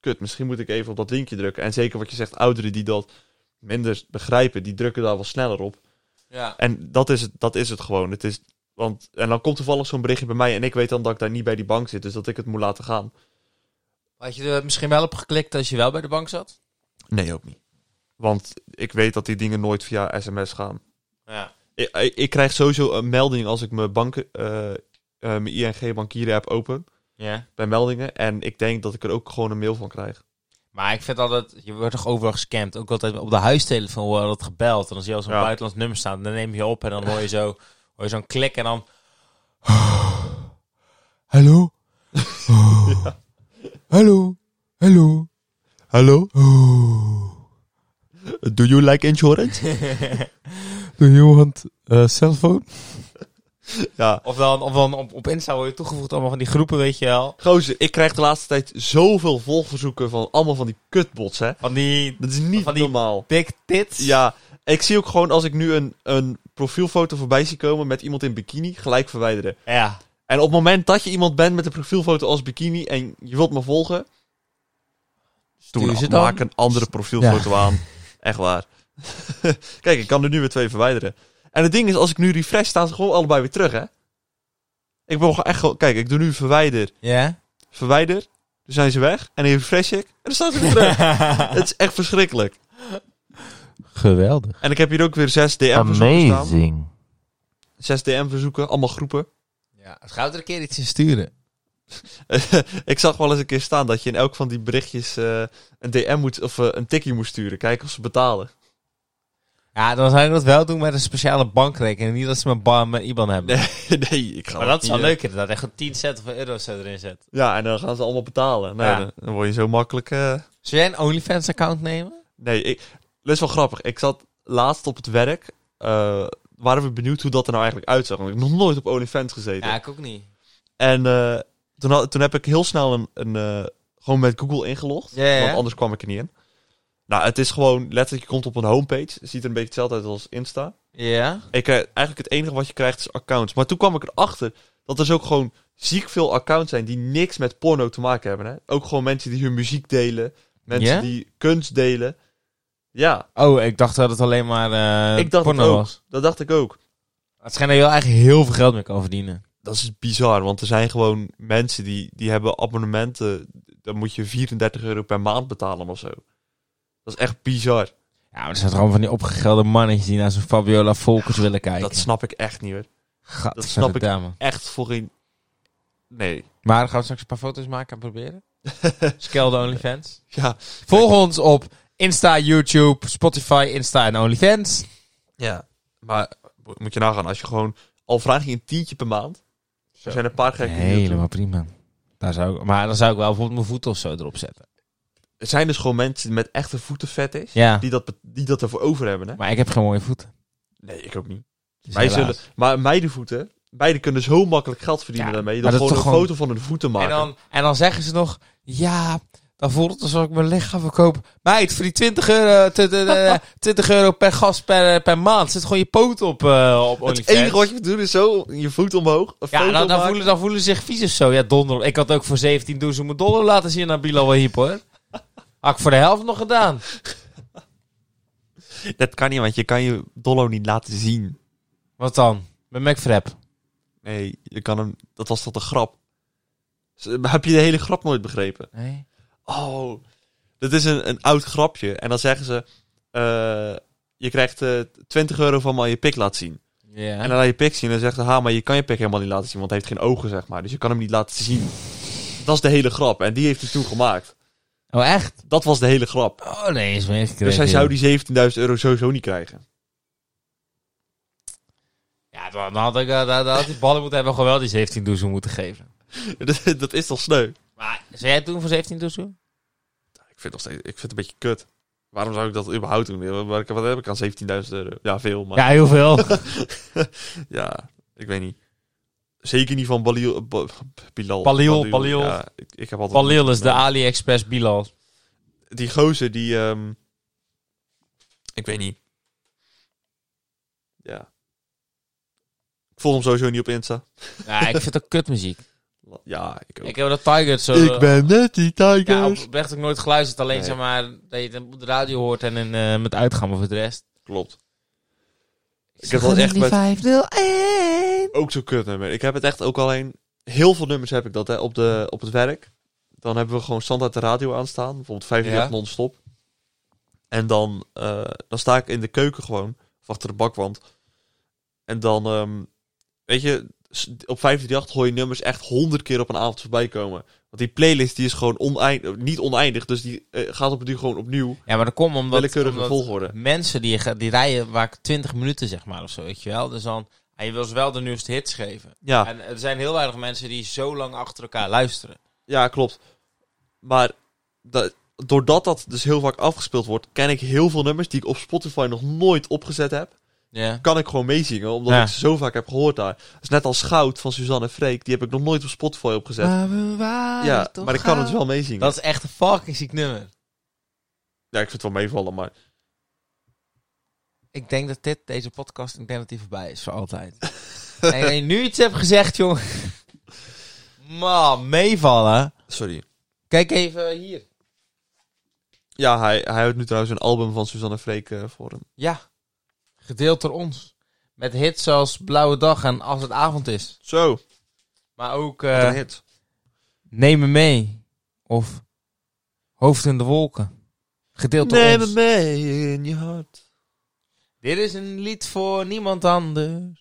Speaker 2: kut, misschien moet ik even op dat linkje drukken. En zeker wat je zegt, ouderen die dat minder begrijpen, die drukken daar wel sneller op.
Speaker 1: Ja.
Speaker 2: En dat is het, dat is het gewoon. Het is, want, en dan komt toevallig zo'n berichtje bij mij. En ik weet dan dat ik daar niet bij die bank zit. Dus dat ik het moet laten gaan.
Speaker 1: Had je er misschien wel op geklikt als je wel bij de bank zat?
Speaker 2: Nee, ook niet. Want ik weet dat die dingen nooit via sms gaan.
Speaker 1: Ja.
Speaker 2: Ik, ik, ik krijg sowieso een melding als ik mijn, bank, eh, eh, mijn ING bankieren app open.
Speaker 1: Ja.
Speaker 2: Bij meldingen. En ik denk dat ik er ook gewoon een mail van krijg.
Speaker 1: Maar ik vind altijd, je wordt toch overal gescamd. Ook altijd op de huistelefoon wordt dat gebeld. En dan zie je al zo'n
Speaker 2: Ja.
Speaker 1: buitenlands nummer staan. Dan neem je op en dan hoor je zo, hoor je zo'n klik en dan...
Speaker 4: <laughs>
Speaker 1: Hallo? Hallo? Hallo?
Speaker 2: Hallo? <laughs> Do you like insurance?
Speaker 4: Do you want a cell phone?
Speaker 2: <laughs> ja.
Speaker 1: Of dan, of dan op, op Insta word je toegevoegd allemaal van die groepen, weet je wel.
Speaker 2: Gozer, ik krijg de laatste tijd zoveel volverzoeken van allemaal van die kutbots, hè.
Speaker 1: Van die
Speaker 2: Dat is niet
Speaker 1: Van die-
Speaker 2: normaal.
Speaker 1: dik tits.
Speaker 2: Ja, ik zie ook gewoon als ik nu een, een profielfoto voorbij zie komen met iemand in bikini, gelijk verwijderen.
Speaker 1: Ja.
Speaker 2: En op het moment dat je iemand bent met een profielfoto als bikini en je wilt me volgen,
Speaker 1: Doe
Speaker 2: toen
Speaker 1: ze dan?
Speaker 2: maak een andere profielfoto aan. Echt waar. <laughs> Kijk, ik kan er nu weer twee verwijderen. En het ding is, als ik nu refresh, staan ze gewoon allebei weer terug, hè? Ik ben gewoon echt gewoon... Kijk, ik doe nu verwijder,
Speaker 1: <laughs> Ja?
Speaker 2: verwijder. Toen zijn ze weg. En dan refresh ik. En dan staan ze weer
Speaker 1: <laughs>
Speaker 2: terug. het is echt verschrikkelijk.
Speaker 1: Geweldig.
Speaker 2: En ik heb hier ook weer zes DM-verzoeken staan. Zes DM-verzoeken, allemaal groepen.
Speaker 1: Ja, het gaat er een keer iets in sturen.
Speaker 2: <laughs> ik zag wel eens een keer staan dat je in elk van die berichtjes eh, een DM moet of eh, een tikkie moest sturen. Kijken of ze betalen.
Speaker 1: Ja, dan zou ik dat wel doen met een speciale bankrekening. Niet dat ze mijn, ba- mijn IBAN hebben. eh,
Speaker 2: Nee, <laughs> nee ik ga
Speaker 1: maar dat is wel
Speaker 2: niet,
Speaker 1: leuk inderdaad. Echt een 10 cent of een euro cent erin zet.
Speaker 2: eh, Ja, en dan gaan ze allemaal betalen. Nee,
Speaker 1: Ja.
Speaker 2: dan, dan word je zo makkelijk. eh,
Speaker 1: Zou jij een OnlyFans account nemen?
Speaker 2: Nee, ik, dat is wel grappig. Ik zat laatst op het werk. eh, waren we benieuwd hoe dat er nou eigenlijk uitzag. Want ik heb nog nooit op OnlyFans gezeten.
Speaker 1: Ja, ik ook niet.
Speaker 2: En eh, toen, had- toen heb ik heel snel een, een eh, gewoon met Google ingelogd.
Speaker 1: Ja, ja, ja.
Speaker 2: Want anders kwam ik er niet in. Nou, het is gewoon letterlijk, je komt op een homepage. Het ziet er een beetje hetzelfde uit als Insta.
Speaker 1: Ja?
Speaker 2: Ik krijg- eigenlijk het enige wat je krijgt is accounts. Maar toen kwam ik erachter dat er dus ook gewoon ziek veel accounts zijn die niks met porno te maken hebben. Hè? Ook gewoon mensen die hun muziek delen. Mensen
Speaker 1: Ja?
Speaker 2: die kunst delen. Ja,
Speaker 1: Oh, ik dacht dat het alleen maar eh
Speaker 2: ik dacht het
Speaker 1: porno
Speaker 2: ook.
Speaker 1: was.
Speaker 2: Dat dacht ik ook.
Speaker 1: Het schijnt dat je wel eigenlijk heel veel geld mee kan verdienen.
Speaker 2: Dat is bizar, want er zijn gewoon mensen die, die hebben abonnementen. Dan moet je 34 euro per maand betalen of zo. Dat is echt bizar.
Speaker 1: Ja, maar er zijn toch gewoon van die opgegelde mannetjes die naar zo'n Fabiola Volkers willen kijken.
Speaker 2: Dat snap ik echt niet hoor.
Speaker 1: Gadverdamme.
Speaker 2: dat snap ik. Echt voor geen... Nee.
Speaker 1: Maar gaan we straks een paar foto's maken en proberen?
Speaker 2: <laughs>
Speaker 1: Skelde OnlyFans.
Speaker 2: Ja.
Speaker 1: Volg ons op Insta, YouTube, Spotify, Insta en OnlyFans.
Speaker 2: Ja, maar mo- moet je nagaan, als je gewoon... Al vraag je een tientje per maand. Er zijn een paar gekken die dat doen.
Speaker 1: Helemaal prima. Daar zou ik, maar dan zou ik wel bijvoorbeeld mijn voet of zo erop zetten.
Speaker 2: Er zijn dus gewoon mensen met echte voetenvet is.
Speaker 1: Ja,
Speaker 2: Die, dat, be- die dat ervoor over hebben, hè?
Speaker 1: maar ik heb geen mooie voeten.
Speaker 2: Nee, ik ook niet.
Speaker 1: Dus
Speaker 2: Wij
Speaker 1: helaas.
Speaker 2: zullen, maar meidenvoeten, beide kunnen zo makkelijk geld verdienen
Speaker 1: Ja,
Speaker 2: daarmee.
Speaker 1: maar
Speaker 2: Dat
Speaker 1: dat
Speaker 2: gewoon een
Speaker 1: is toch gewoon-
Speaker 2: foto van hun voeten
Speaker 1: En
Speaker 2: maken.
Speaker 1: dan, en dan zeggen ze nog, ja, dan voelt het alsof ik mijn lichaam verkoop. Meid, voor die 20 euro, t- t-
Speaker 2: <laughs>
Speaker 1: eh, 20 euro per gast per, eh, per maand zit gewoon je poot op, eh op
Speaker 2: het
Speaker 1: OnlyFans.
Speaker 2: enige wat je moet doen is zo je voet omhoog. Een
Speaker 1: Ja,
Speaker 2: foto
Speaker 1: dan, dan,
Speaker 2: maken.
Speaker 1: voelen, dan voelen ze zich vies of zo. Ja, donder. Ik had ook voor 17 doen mijn dollar laten zien aan Bilal Wahib,
Speaker 2: <laughs>
Speaker 1: hoor. Had ik voor de helft nog gedaan.
Speaker 2: Dat kan niet, want je kan je dollo niet laten zien.
Speaker 1: Wat dan? Met McFrap.
Speaker 2: Nee, je kan hem. Dat was toch een grap? Z- Heb je de hele grap nooit begrepen?
Speaker 1: Nee.
Speaker 2: Oh, dat is een, een oud grapje. En dan zeggen ze: eh, Je krijgt eh, 20 euro van maar je pik laat zien.
Speaker 1: Ja.
Speaker 2: En dan laat je pik zien en dan zegt hij: Ha, maar je kan je pik helemaal niet laten zien, want hij heeft geen ogen, zeg maar. Dus je kan hem niet laten zien. Dat is de hele grap. En die heeft hij toen gemaakt.
Speaker 1: Oh, echt?
Speaker 2: Dat was de hele grap.
Speaker 1: Oh, nee, is meegekregen.
Speaker 2: Dus hij zou die 17.000 euro sowieso niet krijgen. <laughs>
Speaker 1: Ja, dan, dan had ik, eh, dan, dan had die ballen moeten hebben gewoon wel die 17 doezoe moeten geven.
Speaker 2: dat, dat is toch sneu?
Speaker 1: Maar, zou jij het doen voor 17 doezoe?
Speaker 2: Ik vind, het nog steeds, ik vind het een beetje kut. Waarom zou ik dat überhaupt doen? Wat wat heb ik aan 17.000 euro? Ja, veel, maar...
Speaker 1: Ja, heel veel.
Speaker 2: Ja, ik weet niet. Zeker niet van Balil, eh, Ba- Bilal.
Speaker 1: Balil, Balil.
Speaker 2: Ja, ik, ik heb altijd
Speaker 1: Balil is de AliExpress Bilal.
Speaker 2: Die gozer, die... ehm, ik weet niet. Ja. Ik volg hem sowieso niet op Insta.
Speaker 1: Ja, ik vind ook kutmuziek.
Speaker 2: Ja, ik
Speaker 1: <laughs>
Speaker 2: ook.
Speaker 1: Ik heb dat Tiger zo...
Speaker 4: Ik ben net die
Speaker 1: Ja,
Speaker 4: Tigers.
Speaker 1: oprecht ook nooit geluisterd. Alleen
Speaker 2: Nee.
Speaker 1: zeg maar dat je het op de radio hoort en in, eh, met uitgaan of het rest.
Speaker 2: Klopt. Ik heb wel echt met...
Speaker 1: 501.
Speaker 2: Ook zo'n kutnummer. Ik heb het echt ook alleen... Heel veel nummers heb ik dat hè, op, de, op het werk. Dan hebben we gewoon standaard de radio aanstaan. Bijvoorbeeld 35
Speaker 1: Ja.
Speaker 2: non-stop. En dan, eh, dan sta ik in de keuken gewoon. Of achter de bakwand. En dan, ehm, weet je... s- Op 538 hoor je nummers echt honderd keer op een avond voorbij komen. Want die playlist die is gewoon oneind, niet oneindig. Dus die eh, gaat op het duur gewoon opnieuw.
Speaker 1: Ja, maar dat komt omdat,
Speaker 2: Willekeurige
Speaker 1: omdat
Speaker 2: volgorde.
Speaker 1: mensen die, ga- die rijden vaak 20 minuten zeg maar of zo, weet je wel. Dus dan, en je wil ze wel de nieuwste hits geven.
Speaker 2: Ja.
Speaker 1: En er zijn heel weinig mensen die zo lang achter elkaar luisteren.
Speaker 2: Ja, klopt. Maar da- doordat dat dus heel vaak afgespeeld wordt, ken ik heel veel nummers die ik op Spotify nog nooit opgezet heb.
Speaker 1: Ja.
Speaker 2: Kan ik gewoon meezingen, omdat
Speaker 1: Ja.
Speaker 2: ik ze zo vaak heb gehoord daar. Dus net als Goud van Suzanne en Freek, die heb ik nog nooit op Spotify opgezet. ja, maar ik kan het wel meezingen.
Speaker 1: Dat is echt een fucking ziek nummer.
Speaker 2: Ja, ik vind het wel meevallen, maar...
Speaker 1: Ik denk dat dit, deze podcast, ik denk dat die voorbij is voor altijd. <laughs> en je nu iets hebt gezegd, jongen. <laughs> Man, meevallen.
Speaker 2: Sorry.
Speaker 1: Kijk even hier.
Speaker 2: Ja, hij, hij houdt nu trouwens een album van Suzanne en Freek eh, voor hem.
Speaker 1: Ja, gedeeld door ons. Met hits zoals Blauwe Dag en Als het Avond is.
Speaker 2: Zo,
Speaker 1: Maar ook
Speaker 2: wat
Speaker 1: eh
Speaker 2: een hit.
Speaker 1: Neem me mee. Of Hoofd in de Wolken. Gedeeld door
Speaker 2: Neem
Speaker 1: ons.
Speaker 2: me mee in je hart.
Speaker 1: Dit is een lied voor niemand anders.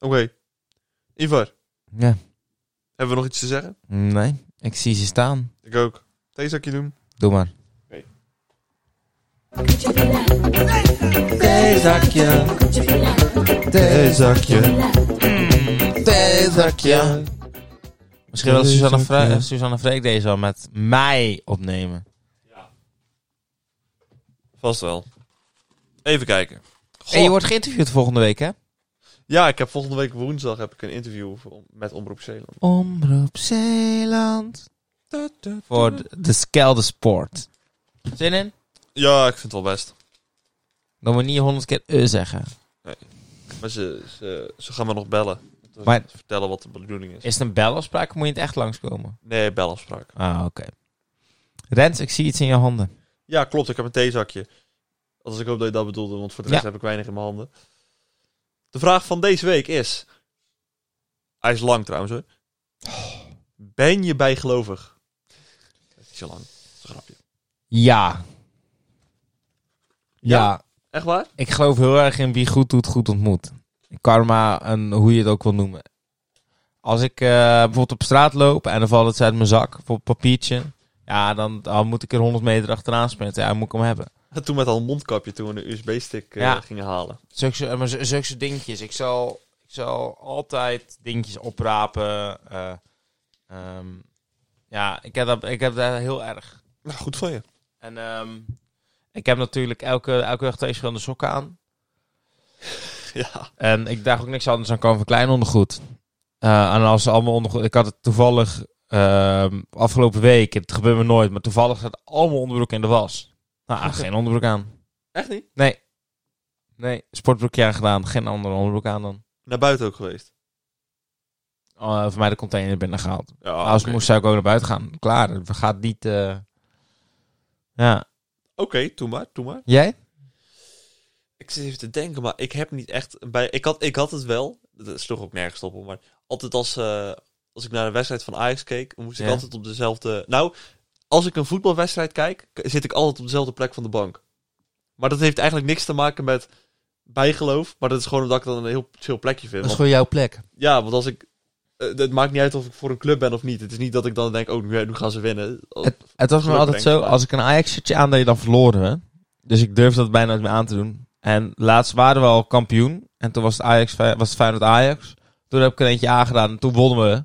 Speaker 2: Oké. Ivar,
Speaker 1: Ja,
Speaker 2: hebben we nog iets te zeggen?
Speaker 1: nee. Ik zie ze staan.
Speaker 2: Ik ook. Theezakje doen?
Speaker 1: Doe maar.
Speaker 2: Theezakje.
Speaker 1: Theezakje. Misschien wil Suzanne, Vre- eh, Suzanne Freek deze al met mij opnemen.
Speaker 2: Vast wel. Even kijken. Goh.
Speaker 1: En je wordt geïnterviewd volgende week, hè?
Speaker 2: Ja, ik heb volgende week woensdag heb ik een interview voor- met Omroep Zeeland.
Speaker 1: Omroep Zeeland. Voor de- de Skelde Sport. Zin in?
Speaker 2: Ja, ik vind het wel best.
Speaker 1: Dan moet je niet honderd keer eh zeggen.
Speaker 2: Maar ze, ze, ze gaan me nog bellen. Om te
Speaker 1: Maar-
Speaker 2: vertellen wat de bedoeling is.
Speaker 1: Is het een belafspraak of moet je in het echt langskomen?
Speaker 2: Nee, belafspraak.
Speaker 1: Ah, oké. Rens, ik zie iets in je handen.
Speaker 2: Ja, klopt. Ik heb een theezakje. Als ik hoop dat je dat bedoelde, want voor de rest
Speaker 1: Ja.
Speaker 2: heb ik weinig in mijn handen. De vraag van deze week is... Hij is lang trouwens hoor. Ben je bijgelovig? Dat is niet zo lang. Dat is een grapje.
Speaker 1: Ja.
Speaker 2: Ja?
Speaker 1: ja.
Speaker 2: Echt waar?
Speaker 1: Ik geloof heel erg in wie goed doet, goed ontmoet. Karma en hoe je het ook wil noemen. Als ik eh, bijvoorbeeld op straat loop en dan valt iets uit mijn zak, bijvoorbeeld papiertje. Ja, dan, dan moet ik er 100 meter achteraan sprinten. Ja, moet ik hem hebben.
Speaker 2: Toen met al een mondkapje, toen we een USB-stick eh,
Speaker 1: Ja.
Speaker 2: gingen halen.
Speaker 1: Zulke, zo- maar zo- zulke soort dingetjes. Ik zal, ik zal altijd dingetjes oprapen. eh, ehm, ja, ik heb, dat, ik heb dat heel erg.
Speaker 2: Nou, goed van je.
Speaker 1: En ehm, Ik heb natuurlijk elke, elke dag twee verschillende sokken aan.
Speaker 2: <laughs> Ja.
Speaker 1: En ik dacht ook niks anders aan kan van klein ondergoed. Eh, en als ze allemaal ondergoed... Ik had het toevallig ehm, afgelopen week, het gebeurt me nooit, maar toevallig zat allemaal onderbroek in de was. Nou, geen onderbroek aan.
Speaker 2: Echt niet?
Speaker 1: Nee. Nee, sportbroekje aan gedaan, geen andere onderbroek aan dan.
Speaker 2: Naar buiten ook geweest.
Speaker 1: Eh, voor mij de container binnen gehaald.
Speaker 2: Ja,
Speaker 1: Nou, Als
Speaker 2: oké.
Speaker 1: moest zou ik ook naar buiten gaan. Klaar, we gaan niet... eh, Ja.
Speaker 2: Oké, doe maar, doe maar.
Speaker 1: Jij?
Speaker 2: Ik zit even te denken, maar ik heb niet echt... Bij, ik, had, ik had het wel, dat sloeg ook nergens op, hoor, maar altijd als, eh, als ik naar de wedstrijd van Ajax keek, moest ik
Speaker 1: Ja.
Speaker 2: altijd op dezelfde... Nou, als ik een voetbalwedstrijd kijk, k- zit ik altijd op dezelfde plek van de bank. Maar dat heeft eigenlijk niks te maken met bijgeloof, maar dat is gewoon omdat ik dan een heel chill plekje vind.
Speaker 1: Dat is
Speaker 2: Want-
Speaker 1: gewoon jouw plek.
Speaker 2: ja, want als ik... eh, het maakt niet uit of ik voor een club ben of niet. Het is niet dat ik dan denk, oh, nu, nu gaan ze winnen.
Speaker 1: Het was me
Speaker 2: Geluk
Speaker 1: altijd
Speaker 2: brengt
Speaker 1: zo,
Speaker 2: geluk.
Speaker 1: als ik een Ajax-shirtje aandeed, dan verloren we. Dus ik durfde dat bijna niet meer aan te doen. En laatst waren we al kampioen. En toen was het, Ajax, Fey- was het Feyenoord Ajax. Toen heb ik er eentje aangedaan en toen wonnen we. Eh,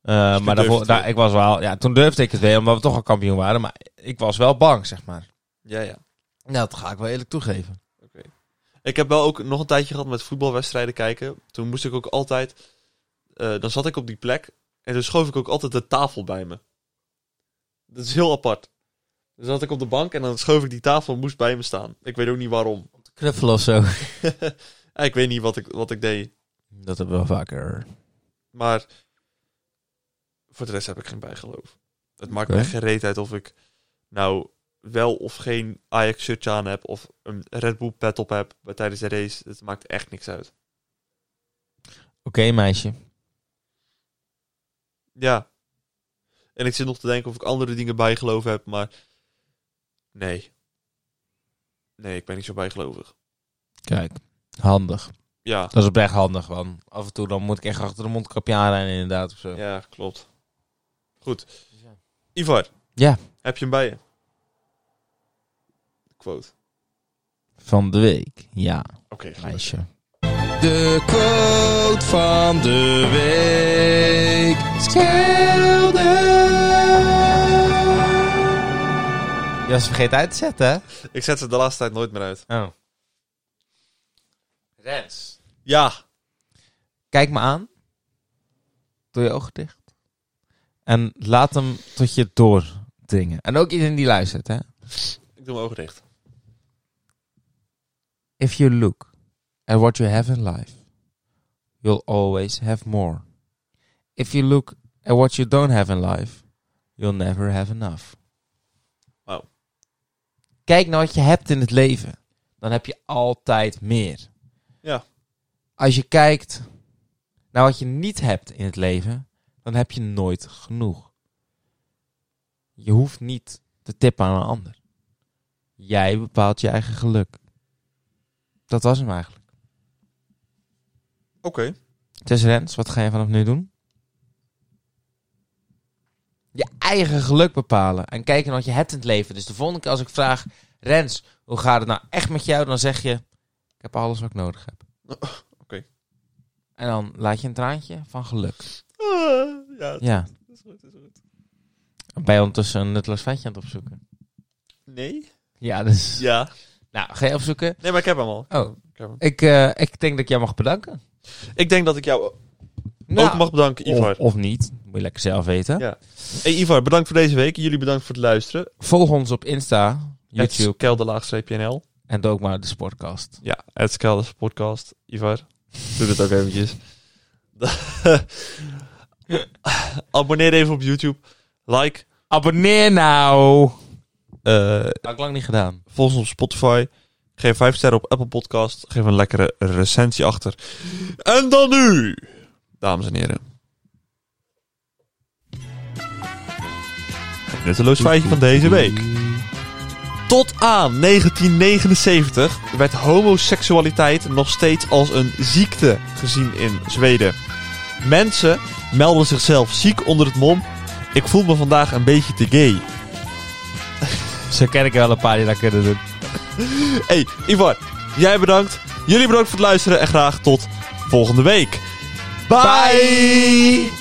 Speaker 2: toen
Speaker 1: maar
Speaker 2: Dus durfde
Speaker 1: daarvoor,
Speaker 2: het
Speaker 1: daar,
Speaker 2: weer.
Speaker 1: ik was wel, ja, toen durfde ik het weer, omdat we toch al kampioen waren. Maar ik was wel bang, zeg maar.
Speaker 2: Ja, ja.
Speaker 1: Nou, dat ga ik wel eerlijk toegeven.
Speaker 2: Ik heb wel ook nog een tijdje gehad met voetbalwedstrijden kijken. Toen moest ik ook altijd... eh, dan zat ik op die plek en toen schoof ik ook altijd de tafel bij me. Dat is heel apart. Dan zat ik op de bank en dan schoof ik die tafel en moest bij me staan. Ik weet ook niet waarom. <laughs>
Speaker 1: Knuffelen of zo.
Speaker 2: Eh, ik weet niet wat ik, wat ik deed.
Speaker 1: Dat hebben we wel vaker.
Speaker 2: Maar voor de rest heb ik geen bijgeloof. Het maakt
Speaker 1: Oké.
Speaker 2: me geen reet uit of ik nou wel of geen Ajax shirtje aan heb of een Red Bull pet op heb bij- tijdens de race. Het maakt echt niks uit.
Speaker 1: Oké, meisje.
Speaker 2: Ja. En ik zit nog te denken of ik andere dingen bijgeloof heb, maar nee. Nee, ik ben niet zo bijgelovig.
Speaker 1: Kijk, handig.
Speaker 2: Ja,
Speaker 1: Dat is oprecht handig, man. Af en toe dan moet ik echt achter de mondkapje aanrijden, inderdaad. Of zo.
Speaker 2: ja, klopt. Goed. Ivar.
Speaker 1: Ja.
Speaker 2: Heb je hem bij je? Quote.
Speaker 1: Van de week, ja.
Speaker 2: Oké,
Speaker 1: Meisje. De quote van de week. Je was vergeten uit te zetten, hè?
Speaker 2: ik zet ze de laatste tijd nooit meer uit.
Speaker 1: Oh. Rens.
Speaker 2: Ja.
Speaker 1: Kijk me aan. Doe je ogen dicht. En laat hem tot je doordringen. En ook iedereen die luistert, hè?
Speaker 2: Ik doe mijn ogen dicht.
Speaker 1: If you look at what you have in life, you'll always have more. If you look at what you don't have in life, you'll never have enough.
Speaker 2: Wauw.
Speaker 1: Kijk naar wat je hebt in het leven. Dan heb je altijd meer.
Speaker 2: Ja.
Speaker 1: Als je kijkt naar wat je niet hebt in het leven, dan heb je nooit genoeg. Je hoeft niet te tippen aan een ander. Jij bepaalt je eigen geluk. Dat was hem eigenlijk.
Speaker 2: Oké.
Speaker 1: Dus Rens, wat ga je vanaf nu doen? Je eigen geluk bepalen en kijken naar wat je hebt in het leven. Dus de volgende keer als ik vraag, Rens, hoe gaat het nou echt met jou? Dan zeg je, ik heb alles wat ik nodig heb.
Speaker 2: <laughs> oké.
Speaker 1: En dan laat je een traantje van geluk.
Speaker 2: <laughs> Ah, ja, het
Speaker 1: Ja.
Speaker 2: is goed, het is goed.
Speaker 1: Ben je ondertussen een nutteloos feitje aan het opzoeken?
Speaker 2: Nee?
Speaker 1: Ja, dus...
Speaker 2: Ja.
Speaker 1: Nou, ga je opzoeken?
Speaker 2: Nee, maar ik heb hem al.
Speaker 1: Oh,
Speaker 2: Ik, heb hem.
Speaker 1: ik, eh, ik denk dat ik jou mag bedanken. Nou.
Speaker 2: ik denk dat ik jou Nou. ook mag bedanken, Ivar.
Speaker 1: of, of niet. Moet je lekker zelf weten.
Speaker 2: Ja. Hey Ivar, bedankt voor deze week. Jullie bedankt voor het luisteren.
Speaker 1: Volg ons op Insta, YouTube
Speaker 2: Kelderlaagstreepje.nl
Speaker 1: en doe ook maar de Sportcast.
Speaker 2: Ja, het Kelders podcast. Ivar, doe dit ook eventjes. <laughs> Abonneer even op YouTube. Like.
Speaker 1: Abonneer nou!
Speaker 2: eh,
Speaker 1: Had ik lang niet gedaan.
Speaker 2: Volg ons op Spotify. Geef 5 sterren op Apple Podcast. Geef een lekkere recensie achter. En dan nu, dames en heren. Het nutteloos feitje van deze week. Tot aan 1979 werd homoseksualiteit nog steeds als een ziekte gezien in Zweden. Mensen melden zichzelf ziek onder het mom. Ik voel me vandaag een beetje te gay.
Speaker 1: Zo ken ik er wel een paar die dat kunnen doen.
Speaker 2: Hey, Ivar, jij bedankt. Jullie bedankt voor het luisteren en graag tot volgende week. Bye!